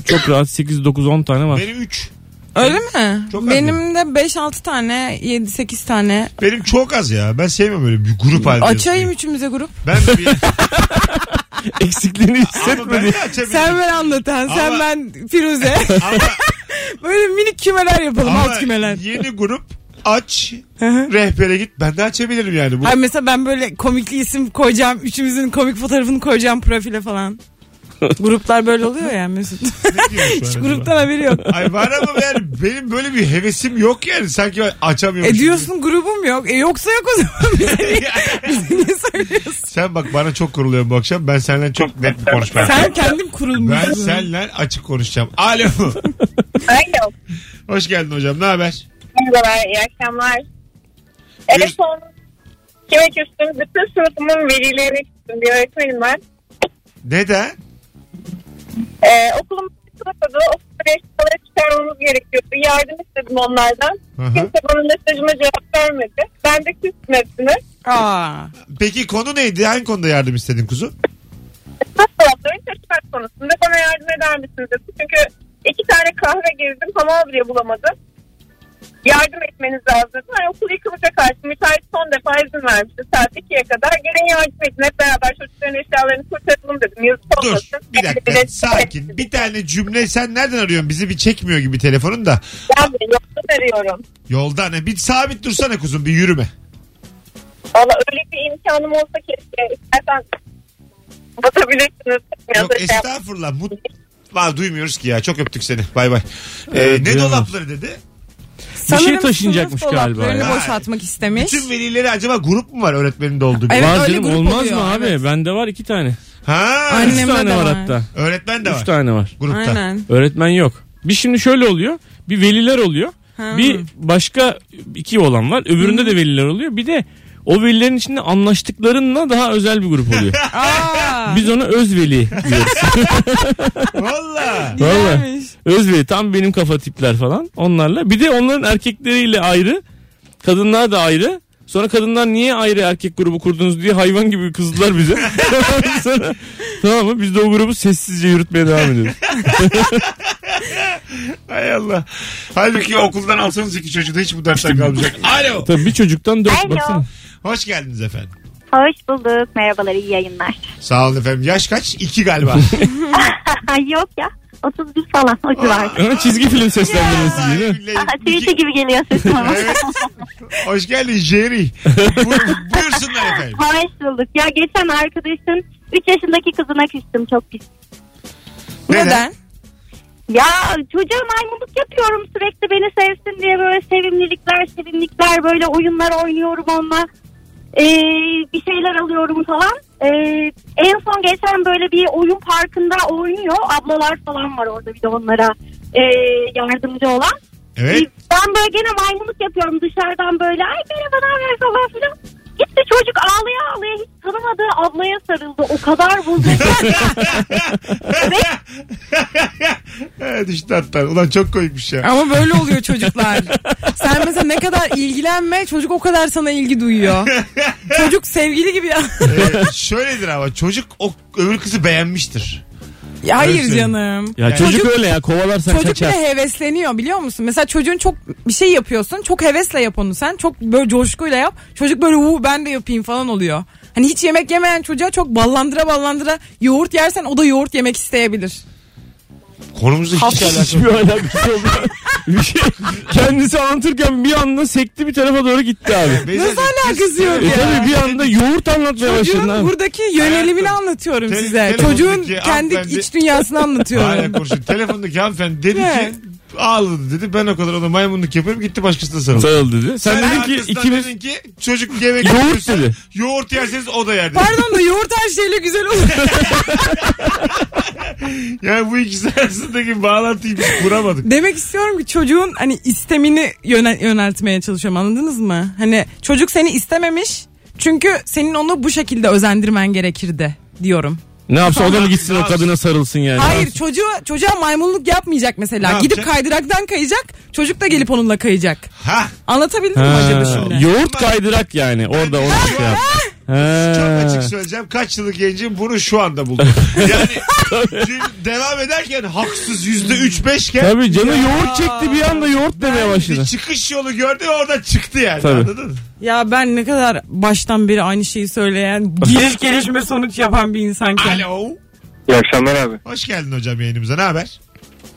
çok rahat 8 9 10 tane Ah. var. Benim 3. Öyle mi? Çok az Benim de 5-6 tane, 7-8 tane. Benim çok az ya. Ben sevmem öyle bir grup halinde. Açayım üçümüze grup. Ben de bir... Eksikliğini Ama ben hissetmedi. de açabilirim. Sen ben anlatan, sen Ama- ben Firuze. Ama- Böyle minik kümeler yapalım, Ama alt kümeler. yeni grup aç rehbere git ben de açabilirim yani. Bu, Ay mesela ben böyle komikli isim koyacağım. Üçümüzün komik fotoğrafını koyacağım profile falan. Gruplar böyle oluyor ya Mesut. ne diyorum şu an Hiç acaba? gruptan haberi yok. Ay var ama yani benim böyle bir hevesim yok yani sanki ben açamıyorum. E diyorsun grubum yok. E yoksa yok o zaman. Bize niye, bize niye söylüyorsun? Sen bak bana çok kuruluyorum bu akşam ben seninle çok net bir konuşmam. Sen kendin Ben kurulmuşsun. seninle açık konuşacağım. Alo. Alo. Hoş geldin hocam ne haber? Merhabalar, iyi akşamlar. En Buyur. son kime küstüm? Bütün sınıfımın velilerine küstüm. Bir öğretmenim ben. Neden? Ee, okulum sınıfı okulda eşyaları çıkarmamız gerekiyordu. Yardım istedim onlardan. Hı hı. Kimse bana mesajıma cevap vermedi. Ben de küsmesini. Aa. Peki konu neydi? Hangi konuda yardım istedin kuzu? Fotoğrafların taşımak konusunda bana yardım eder misiniz dedi. Çünkü iki tane kahve gezdim ama bile bulamadım. Yardım etmeniz lazım. dedi. Hani okul yıkılacak artık. Müteahhit son defa izin vermişti saat 2'ye kadar. Gelin yardım edin hep beraber çocukların eşyalarını kurtaralım dedim. Yazık Dur olmasın. bir dakika sakin bir tane cümle sen nereden arıyorsun bizi bir çekmiyor gibi telefonun da Ben de yolda arıyorum. yoldan ha, bir sabit dursana kuzum bir yürüme. Valla öyle bir imkanım olsa keşke. İstersen batabilirsiniz. Yok Yazık şey yap- estağfurullah. Mut... Var duymuyoruz ki ya. Çok öptük seni. Bay bay. Ee, ne duyamam. dolapları dedi? Bir şey Sanırım taşınacakmış sınıf galiba ya. dolaplarını boşaltmak istemiş. Bütün velileri acaba grup mu var öğretmenin de olduğu gibi? Evet, var öyle canım grup olmaz oluyor, mı abi? evet. Bende var 2 tane. Ha, Aynen. 3 Annemde tane de var, var. hatta. öğretmen de 3 var tane var. grupta. Aynen. Öğretmen yok. Bir şimdi şöyle oluyor. Bir veliler oluyor. Ha. Bir başka iki olan var. Öbüründe de veliler oluyor. Bir de o velilerin içinde anlaştıklarınla daha özel bir grup oluyor. Aa. Biz ona özveli diyoruz. Valla. Valla. Güzelmiş. Özveli tam benim kafa tipler falan. Onlarla. Bir de onların erkekleriyle ayrı. Kadınlar da ayrı. Sonra kadınlar niye ayrı erkek grubu kurdunuz diye hayvan gibi kızdılar bize. Sonra, tamam mı? Biz de o grubu sessizce yürütmeye devam ediyoruz. Hay Allah. Halbuki okuldan alsanız iki çocuğu da hiç bu dersten kalmayacak. Alo. Tabii bir çocuktan dört Alo. baksana. Hoş geldiniz efendim. Hoş bulduk. Merhabalar, iyi yayınlar. Sağ olun efendim. Yaş kaç? İki galiba. Yok ya. 31 falan o civar. Ama çizgi film seslendirmesi gibi. değil mi? Billahi. Tweet'e gibi geliyor sesim ama. Evet. Hoş geldin Jerry. Buyur- buyursunlar efendim. Hoş bulduk. Ya geçen arkadaşın 3 yaşındaki kızına küstüm çok pis. Neden? Ya çocuğa maymunluk yapıyorum sürekli beni sevsin diye böyle sevimlilikler sevimlikler böyle oyunlar oynuyorum onunla. Ee, bir şeyler alıyorum falan. Ee, en son geçen böyle bir oyun parkında oynuyor. Ablalar falan var orada bir de onlara ee, yardımcı olan. Evet. Ben böyle gene maymunluk yapıyorum dışarıdan böyle. Ay merhaba ne haber falan filan. Gitti çocuk ağlaya ağlaya hiç tanımadığı ablaya sarıldı. O kadar bozuldu. evet işte hatta. Ulan çok koymuş ya. Ama böyle oluyor çocuklar. Sen mesela ne kadar ilgilenme çocuk o kadar sana ilgi duyuyor. çocuk sevgili gibi ya. Ee, şöyledir ama çocuk o öbür kızı beğenmiştir. Ya Hayır söyleyeyim. canım. şey. Ya çocuk, Çocuk- öyle ya kovalarsan Çocuk kaçar. bile hevesleniyor biliyor musun? Mesela çocuğun çok bir şey yapıyorsun. Çok hevesle yap onu sen. Çok böyle coşkuyla yap. Çocuk böyle "Uu, ben de yapayım falan oluyor. Hani hiç yemek yemeyen çocuğa çok ballandıra ballandıra yoğurt yersen o da yoğurt yemek isteyebilir. Konumuzda hiç alakası yok. Hiçbir alakası yok. Bir şey, kendisi anlatırken bir anda sekti bir tarafa doğru gitti abi. Beyza'cığım, Nasıl alakası yok E ya? tabii bir anda yoğurt anlatmaya başladın Çocuğun abi. buradaki yönelimini Hayatım, anlatıyorum tele- size. telefondaki Çocuğun kendi hanımefendi- iç dünyasını Hala anlatıyorum. konuşuyor. Telefondaki hanımefendi dedi Ne? ki ağladı dedi. Ben o kadar ona maymunluk yapıyorum gitti başkasına sarıldı. Sarıldı dedi. Sen, Sen dedin ki arkasından ikimiz dedin ki çocuk yemek Yoğurt yiyorsa, dedi. Yoğurt yerseniz o da yer dedi. Pardon da yoğurt her şeyle güzel olur. Yani bu ikisi arasındaki bağlantıyı biz kuramadık. Demek istiyorum ki çocuğun hani istemini yöne- yöneltmeye çalışıyorum anladınız mı? Hani çocuk seni istememiş. Çünkü senin onu bu şekilde özendirmen gerekirdi diyorum. Ne yapsa o da mı gitsin o kadına sarılsın yani? Hayır çocuğa çocuğa maymunluk yapmayacak mesela. Ne Gidip yapacak? kaydıraktan kayacak. Çocuk da gelip onunla kayacak. Ha Anlatabildim mi Ha, acaba şimdi? yoğurt kaydırak yani orada onu şey yap. Ha. Çok açık söyleyeceğim. Kaç yıllık gencim bunu şu anda buldum. Yani dün devam ederken haksız yüzde üç beşken Tabii canı yoğurt çekti bir anda yoğurt demeye başladı. bir çıkış yolu gördü ve oradan çıktı yani. Tabii. Anladın mı? Ya ben ne kadar baştan beri aynı şeyi söyleyen, giriş gelişme sonuç yapan bir insanken. Alo. İyi akşamlar abi. Hoş geldin hocam yayınımıza. Ne haber?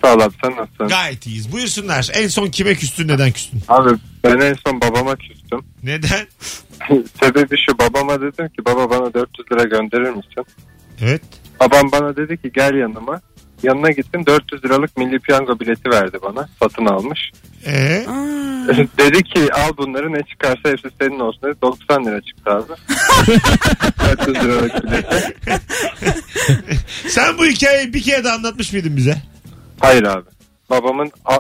Sağ ol abi sen nasılsın? Gayet iyiyiz. Buyursunlar. En son kime küstün neden küstün? Abi ben en son babama küstüm. Neden? Sebebi şu babama dedim ki baba bana 400 lira gönderir misin? Evet. Babam bana dedi ki gel yanıma. Yanına gittim 400 liralık milli piyango bileti verdi bana. Satın almış. Ee, dedi ki al bunları ne çıkarsa hepsi senin olsun dedi. 90 lira çıktı abi. 400 liralık bileti. sen bu hikayeyi bir kere de anlatmış mıydın bize? Hayır abi. Babamın a-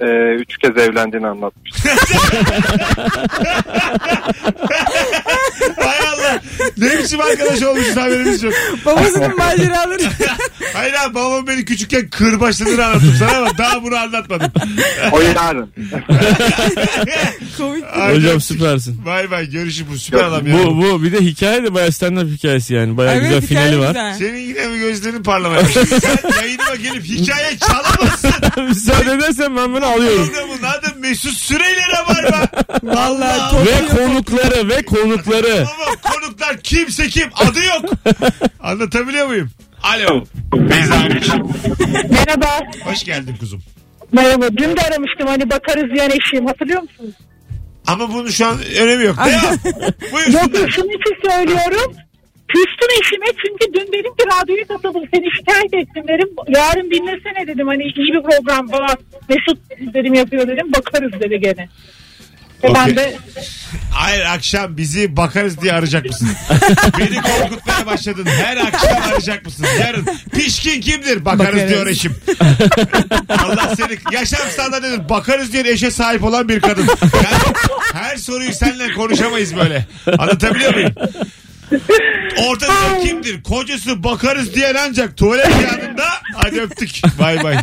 e, üç kez evlendiğini anlatmış. Hay Allah. Ne biçim arkadaş olmuşuz haberimiz yok. Babasının maceraları. Hayır abi babam beni küçükken kırbaçladığını anlattım sana ama daha bunu anlatmadım. O yarın. Komik. Hocam süpersin. Vay vay görüşü bu süper adam ya. Bu bu bir de hikaye de bayağı stand up hikayesi yani. Bayağı güzel Evet, hikaye finali var. güzel. Senin yine mi gözlerin parlamaya başladı? Sen yayınıma gelip hikaye çalamazsın. Müsaade edersen ben bunu alıyorum. Programın adı Mesut Süreyle Rabarba. Vallahi ve konukları ve konukları. Ama konuklar kimse kim adı yok. Anlatabiliyor muyum? Alo. Beyza'ymış. Merhaba. Hoş geldin kuzum. Merhaba. Dün de aramıştım hani bakarız yani eşiğim hatırlıyor musunuz? Ama bunun şu an önemi yok. Devam. Yok yok Buyursunlar. şunun için söylüyorum. Küstüm eşime çünkü dün dedim ki radyoyu kapadım seni şikayet ettim dedim. Yarın dinlesene dedim hani iyi bir program falan. Mesut dedim yapıyor dedim bakarız dedi gene. Ve Okey. Ben de Hayır akşam bizi bakarız diye arayacak mısın? Beni korkutmaya başladın. Her akşam arayacak mısın? Yarın pişkin kimdir? Bakarız, Bakarız. diyor eşim. Allah seni yaşam standartı bakarız diyen eşe sahip olan bir kadın. Yani her soruyu seninle konuşamayız böyle. Anlatabiliyor muyum? Ortada kimdir? Kocası bakarız diyen ancak tuvalet yanında hadi öptük. Bay bay.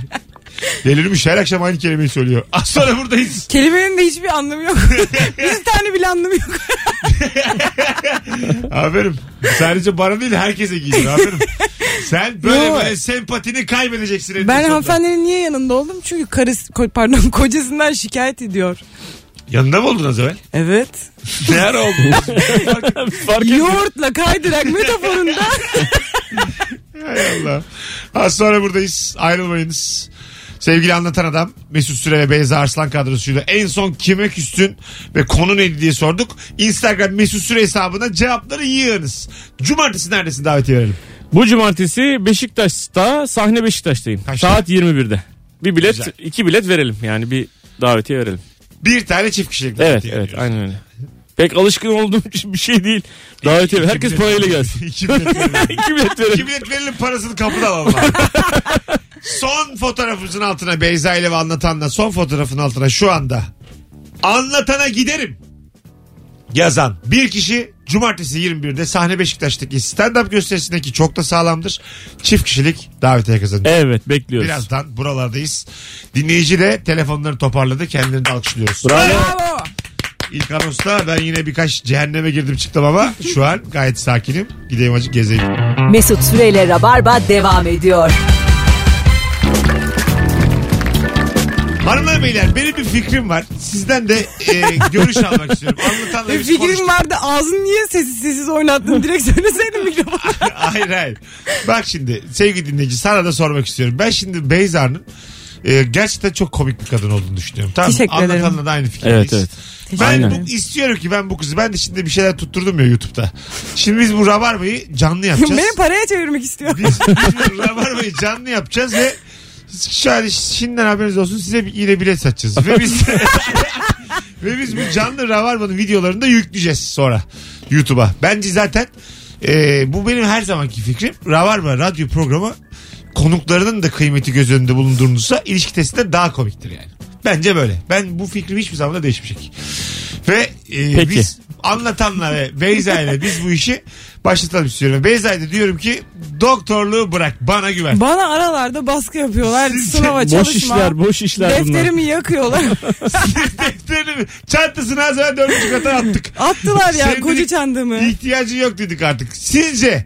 Delirmiş her akşam aynı kelimeyi söylüyor. Az sonra buradayız. Kelimenin de hiçbir anlamı yok. Bir tane bile anlamı yok. Aferin. Sadece bana değil herkese giydin. Aferin. Sen böyle Yo. böyle sempatini kaybedeceksin. eninde Ben sonunda. hanımefendinin niye yanında oldum? Çünkü karısı, ko- pardon kocasından şikayet ediyor. Yanında mı oldun az evvel? Evet. Ne ara oldun? Fark et. Yoğurtla kaydırak metaforunda. Hay Allah. Az sonra buradayız. Ayrılmayınız. Sevgili anlatan adam Mesut Süre ve Beyza Arslan kadrosuyla en son kime küstün ve konu neydi diye sorduk. Instagram Mesut Süre hesabına cevapları yığınız. Cumartesi neredesin davetiye verelim. Bu cumartesi Beşiktaş'ta sahne Beşiktaş'tayım. Kaçta? Saat 21'de. Bir bilet, Güzel. iki bilet verelim yani bir davetiye verelim. Bir tane çift kişilik Evet, davetiye evet, veriyoruz. aynen öyle. Pek alışkın olduğum için bir şey değil. E, Davetiye İki herkes bilet- parayla gelsin. İki bilet verelim. iki bilet verelim. İki bilet verelim parasını kapıda alalım. abi. son fotoğrafımızın altına Beyza ile ve anlatanla son fotoğrafın altına şu anda anlatana giderim yazan bir kişi cumartesi 21'de sahne Beşiktaş'taki stand-up gösterisindeki çok da sağlamdır. Çift kişilik davetiye kazanacak. Evet bekliyoruz. Birazdan buralardayız. Dinleyici de telefonlarını toparladı. Kendilerini de alkışlıyoruz. Bravo. İlk anonsta ben yine birkaç cehenneme girdim çıktım ama şu an gayet sakinim. Gideyim acık gezeyim. Mesut Süreyle Rabarba devam ediyor. Hanımlar beyler benim bir fikrim var. Sizden de e, görüş almak istiyorum. Anlatanla E, Bir biz fikrim konuştuk. vardı. Ağzını niye sessiz sessiz oynattın? Direkt söyleseydin mikrofonu. hayır hayır. Bak şimdi sevgili dinleyici sana da sormak istiyorum. Ben şimdi Beyza'nın e, gerçekten çok komik bir kadın olduğunu düşünüyorum. Tamam, mı? Teşekkür ederim. Anlatanla da aynı Evet, fikirdeyiz. evet. Ben Aynen. bu, istiyorum ki ben bu kızı ben de şimdi bir şeyler tutturdum ya YouTube'da. Şimdi biz bu Rabarba'yı canlı yapacağız. Beni paraya çevirmek istiyor. Biz, biz bu Rabarba'yı canlı yapacağız ve şöyle şimdiden haberiniz olsun size bir yine bilet satacağız. Ve biz ve biz bu canlı Rabarba'nın videolarını da yükleyeceğiz sonra YouTube'a. Bence zaten e, bu benim her zamanki fikrim. Rabarba radyo programı konuklarının da kıymeti göz önünde bulundurulursa ilişki testi de daha komiktir yani. Bence böyle. Ben bu fikrim hiçbir zaman da değişmeyecek. Ve e, Peki. biz anlatanla ve Beyza ile biz bu işi başlatalım istiyorum. Beyza'ya da diyorum ki doktorluğu bırak bana güven. Bana aralarda baskı yapıyorlar. Siz- Sınava çalışma. Boş işler, boş işler bunlar. Defterimi yakıyorlar. Defterini- Çantasını az evvel dördüncü kata attık. Attılar ya Sevgili- koca çandımı. İhtiyacı yok dedik artık. Sizce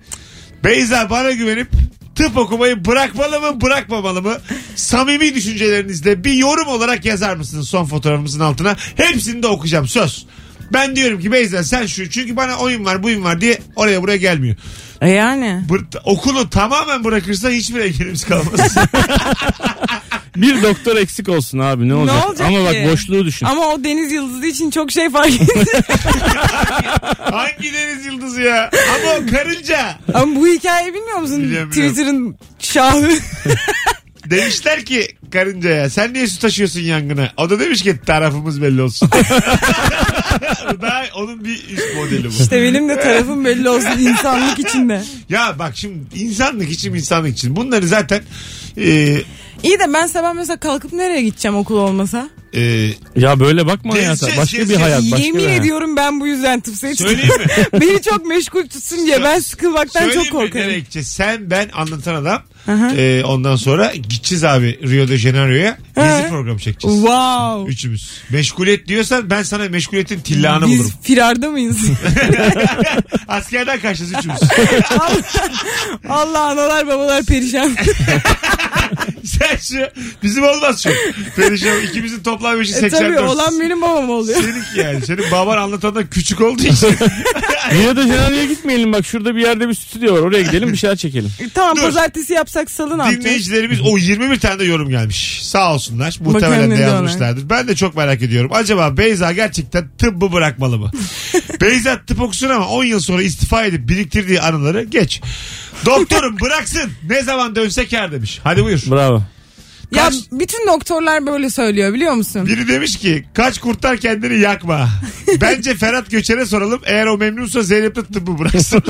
Beyza bana güvenip tıp okumayı bırakmalı mı bırakmamalı mı? Samimi düşüncelerinizle bir yorum olarak yazar mısınız son fotoğrafımızın altına? Hepsini de okuyacağım söz. Ben diyorum ki Beyza sen şu çünkü bana oyun var buyun var diye oraya buraya gelmiyor. E yani. Bır- okulu tamamen bırakırsa hiçbir ekibimiz kalmaz. Bir doktor eksik olsun abi ne olacak? olacak Ama ki? bak boşluğu düşün. Ama o deniz yıldızı için çok şey fark etti. Hangi deniz yıldızı ya? Ama o karınca. Ama bu hikayeyi bilmiyor musun? Biliyorum, biliyorum. Twitter'ın şahı. Demişler ki karıncaya sen niye su taşıyorsun yangına? O da demiş ki tarafımız belli olsun. Daha onun bir üst modeli bu. işte benim de tarafım belli olsun insanlık içinde. Ya bak şimdi insanlık için insanlık için. Bunları zaten e, İyi de ben sabah mesela kalkıp nereye gideceğim okul olmasa? e, Ya böyle bakma Gezeceğiz, hayata. Başka bir gezeceğiz. hayat. Başka Yemin bir hayat. ediyorum ben bu yüzden tıp seçtim. söyleyeyim mi? Beni çok meşgul tutsun diye ben sıkılmaktan Söyleyeyim çok mi korkarım. nereye gideceğiz? Sen ben anlatan adam. Aha. E, ondan sonra gideceğiz abi Rio de Janeiro'ya. Gezi Aha. programı çekeceğiz. Wow. Üçümüz. Meşguliyet diyorsan ben sana meşguliyetin tillahını bulurum. Biz firarda mıyız? Askerden kaçacağız üçümüz. Allah, Allah analar babalar perişan. Sen şu bizim olmaz şu. Perişan ikimizin toplam yaşı e, 84. tabii olan benim babam oluyor. Seninki yani. Senin baban anlatandan küçük olduğu için. Rio de Janeiro'ya gitmeyelim bak şurada bir yerde bir stüdyo var oraya gidelim bir şeyler çekelim. E, tamam Dur. pazartesi yapsak salı ne yapacağız? Dinleyicilerimiz o 21 tane de yorum gelmiş. Sağ olsunlar. Muhtemelen Bakalım de ne diyorlar. yazmışlardır. Ben de çok merak ediyorum. Acaba Beyza gerçekten tıbbı bırakmalı mı? Beyza tıp okusun ama 10 yıl sonra istifa edip biriktirdiği anıları geç. Doktorum bıraksın. Ne zaman dönse kar demiş. Hadi buyur. Bravo. Ya Kaç- bütün doktorlar böyle söylüyor biliyor musun? Biri demiş ki kaç kurtar kendini yakma. Bence Ferhat Göçer'e soralım. Eğer o memnunsa Zeynep de tıbbı bıraksın.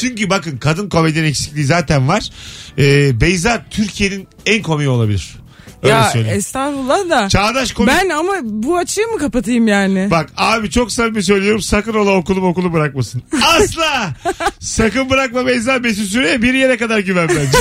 Çünkü bakın kadın komedinin eksikliği zaten var. Ee, Beyza Türkiye'nin en komiği olabilir. Öyle ya e, söyleyeyim. estağfurullah da. Çağdaş komik. Ben ama bu açığı mı kapatayım yani? Bak abi çok samimi söylüyorum sakın ola okulum okulu bırakmasın. Asla. sakın bırakma Beyza Mesut Süre'ye bir yere kadar güven bence.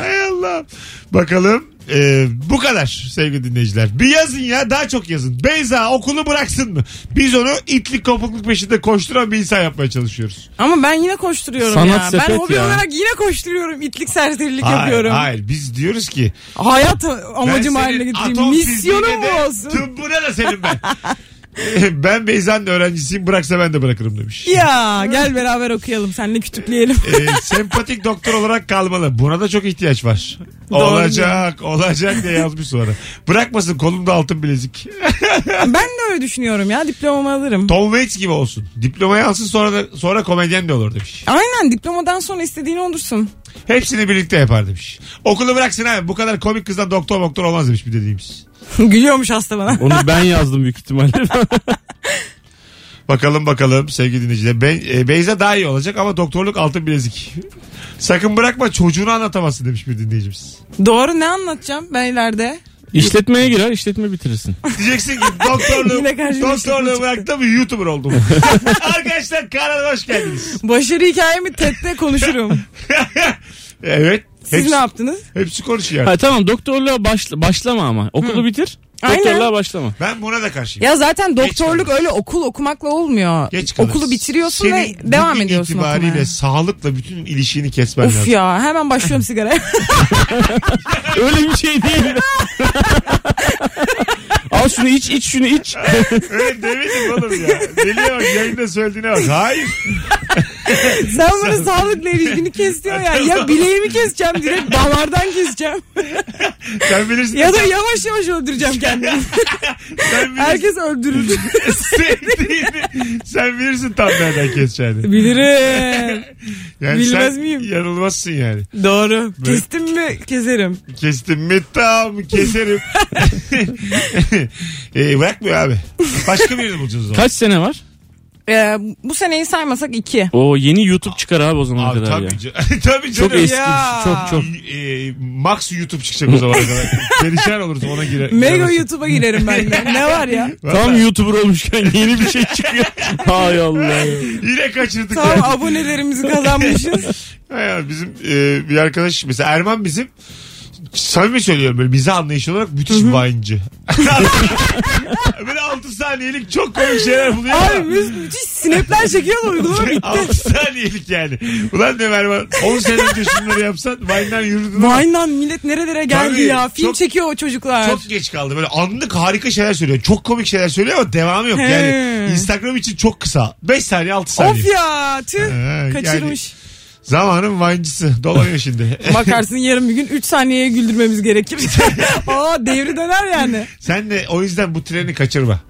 Hay Allah. Bakalım ee, bu kadar sevgili dinleyiciler. Bir yazın ya daha çok yazın. Beyza okulu bıraksın mı? Biz onu itlik kopukluk peşinde koşturan bir insan yapmaya çalışıyoruz. Ama ben yine koşturuyorum Sanat ya. Ben sepet hobi ya. olarak yine koşturuyorum. İtlik serserilik hayır, yapıyorum. hayır biz diyoruz ki. Hayat ben amacım senin haline getireyim. atom Misyonum fiziğine bu de, olsun. Tıbbına da senin ben. ben Beyza'nın öğrencisiyim bıraksa ben de bırakırım demiş. Ya gel beraber okuyalım. Seninle kütüpleyelim. Ee, sempatik doktor olarak kalmalı. Buna da çok ihtiyaç var. Doğru. olacak, olacak diye yazmış sonra. Bırakmasın kolumda altın bilezik. ben de öyle düşünüyorum ya. Diplomamı alırım. Tom Waits gibi olsun. Diplomayı alsın sonra da, sonra komedyen de olur demiş. Aynen diplomadan sonra istediğini olursun. Hepsini birlikte yapar demiş. Okulu bıraksın abi. Bu kadar komik kızdan doktor doktor olmaz demiş bir dediğimiz. Gülüyormuş hasta bana. Onu ben yazdım büyük ihtimalle. Bakalım bakalım sevgili dinleyiciler. Be- e, Beyza daha iyi olacak ama doktorluk altın bilezik. Sakın bırakma çocuğunu anlatamazsın demiş bir dinleyicimiz. Doğru ne anlatacağım ben ileride? İşletmeye girer işletme bitirirsin. Diyeceksin ki doktorluğu, Yine karşıma doktorluğu çıktı. bıraktım YouTuber oldum. Arkadaşlar kanala hoş geldiniz. Başarı hikayemi TED'de konuşurum. evet. Siz Hepsi, ne yaptınız? hepsi konuşuyor. ha tamam doktorluğa başla, başlama ama. Okulu bitir. Aynen. Doktorluğa başlama. Ben buna da karşıyım. Ya zaten doktorluk kalırız. öyle okul okumakla olmuyor. Geç kalırız. Okulu bitiriyorsun Senin ve devam bugün ediyorsun itibariyle okumaya. sağlıkla bütün ilişkini kesmen Of lazım. ya hemen başlıyorum sigaraya. Öyle bir şey değil. Al şunu iç iç şunu iç. Öyle demedim oğlum ya. Deliye bak yayında söylediğine bak. Hayır. Sen bana sağlıkla ilişkini kes diyor ya. Ya bileğimi keseceğim direkt damardan keseceğim. Sen bilirsin. Ya da yavaş yavaş öldüreceğim kendimi. sen bilirsin. Herkes öldürür. Sevdiğini- sen bilirsin tam nereden keseceğini. Bilirim. Yani Bilmez sen miyim? Yanılmazsın yani. Doğru. Böyle- Kestim mi keserim. Kestim mi tam keserim. e, bırakmıyor abi. Başka birini bulacağız o zaman. Kaç sene var? Ee, bu seneyi saymasak iki. O yeni YouTube çıkar abi o zamana Abi kadar tabii, ya. ca- tabii canım. Çok eski. Ya. Çok çok. E, Max YouTube çıkacak o zaman kadar. Perişan oluruz ona girer. Mega YouTube'a girerim ben de. ne var ya? Tam YouTuber olmuşken yeni bir şey çıkıyor. Hay Allah. ya. Yine kaçırdık. Tam ya. abonelerimizi kazanmışız. Hay Allah, bizim e, bir arkadaş mesela Erman bizim samimi söylüyorum böyle bize anlayış olarak müthiş vine'cı. böyle 6 saniyelik çok komik şeyler buluyor. Abi Abi, mü- müthiş sinepler çekiyor da uygulama bitti. 6 saniyelik yani. Ulan ne Erman 10 sene önce şunları yapsan Vine'den yürüdün. ama Vine'dan millet nerelere geldi Tabii, ya. Film çok- çekiyor o çocuklar. Çok geç kaldı. Böyle anlık harika şeyler söylüyor. Çok komik şeyler söylüyor ama devamı yok. Yani He. Instagram için çok kısa. 5 saniye 6 saniye. Of ya tüh Ha, kaçırmış. Zamanın vancısı. Dolanıyor şimdi. Bakarsın yarın bir gün 3 saniyeye güldürmemiz gerekir. Aa devri döner yani. Sen de o yüzden bu treni kaçırma.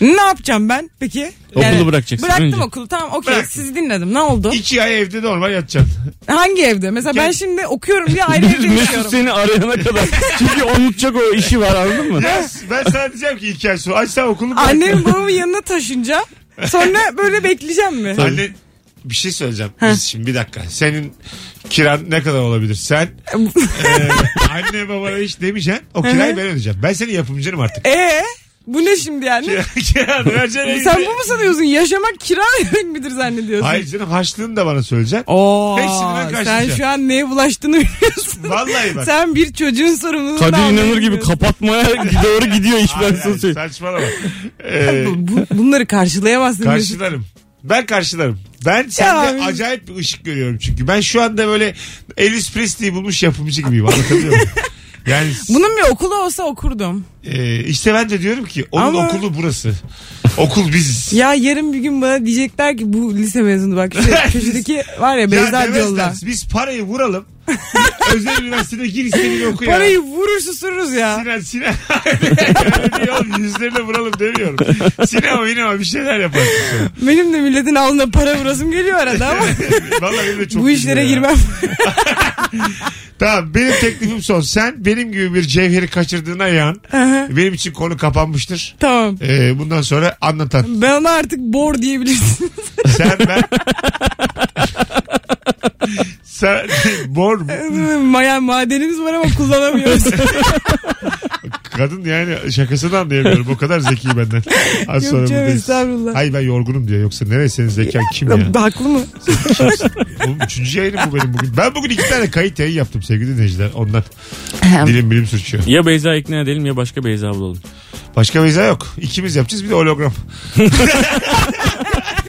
Ne yapacağım ben peki? Okulu bırakacaksın Bıraktım önce. okulu tamam okey Bıraktın. sizi dinledim ne oldu? İki ay evde normal yatacaksın. Hangi evde? Mesela ben şimdi okuyorum diye ayrı evde Mesut yaşıyorum. seni arayana kadar. Çünkü unutacak o işi var anladın mı? Ya ben sana diyeceğim ki iki ay sonra. Aç sen okulu bırak. Annemin babamın yanına taşınca sonra böyle bekleyeceğim mi? Anne bir şey söyleyeceğim. Biz şimdi bir dakika. Senin kiran ne kadar olabilir? Sen Ee, e, anne babana hiç demeyeceksin. O kirayı ben ödeyeceğim. Ben senin yapımcınım artık. Ee bu ne şimdi yani? Kiranı vereceksin. Sen bu mu sanıyorsun? Yaşamak kira demek midir zannediyorsun? Hayır canım harçlığını da bana söyleyeceksin. Oo, Hepsini ben sen karşılayacağım. şu an neye bulaştığını biliyorsun. Vallahi bak. sen bir çocuğun sorumluluğunu da Kadir inanır gibi anlayamıyorsun. kapatmaya doğru gidiyor iş ben Hayır, sana hayır, söyleyeyim. saçmalama. Ee, Bu- bu- bunları karşılayamazsın. Mesut. karşılarım. Ben karşılarım. Ben sende abi. acayip bir ışık görüyorum çünkü. Ben şu anda böyle Elvis Presley'i bulmuş yapımcı gibiyim. Anlatabiliyor muyum? Yani Bunun bir okulu olsa okurdum. e, işte ben de diyorum ki onun Ama- okulu burası. Okul biziz. Ya yarın bir gün bana diyecekler ki bu lise mezunu bak. Şu köşedeki var ya Ya Beyza demezler, diyorlar. Biz parayı vuralım. Özel üniversitede gir istediğini oku ya. Parayı vurur susuruz ya. Sinan Sinan. Öyle değil oğlum, yüzlerine vuralım demiyorum. Sinema minema bir şeyler yaparsın. sonra. Benim de milletin alnına para vurasım geliyor arada ama Vallahi benim de çok bu işlere gülüyor ya. girmem. Tamam benim teklifim son. Sen benim gibi bir cevheri kaçırdığına yan. benim için konu kapanmıştır. tamam. Ee, bundan sonra anlatan. Ben ona artık bor diyebilirsin. Sen ben. Sen bor mu? Maya madenimiz var ama kullanamıyoruz. kadın yani şakasını anlayamıyorum. O kadar zeki benden. Az Yok sonra canım, buradayız. estağfurullah. Hayır ben yorgunum diyor. Yoksa nereye senin zekan kim ya? Haklı mı? Oğlum üçüncü yayınım bu benim bugün. Ben bugün iki tane kayıt yayın yaptım sevgili dinleyiciler. Ondan dilim bilim sürçüyor. Ya Beyza ikna edelim ya başka Beyza bulalım. Başka meyze yok. İkimiz yapacağız bir de hologram.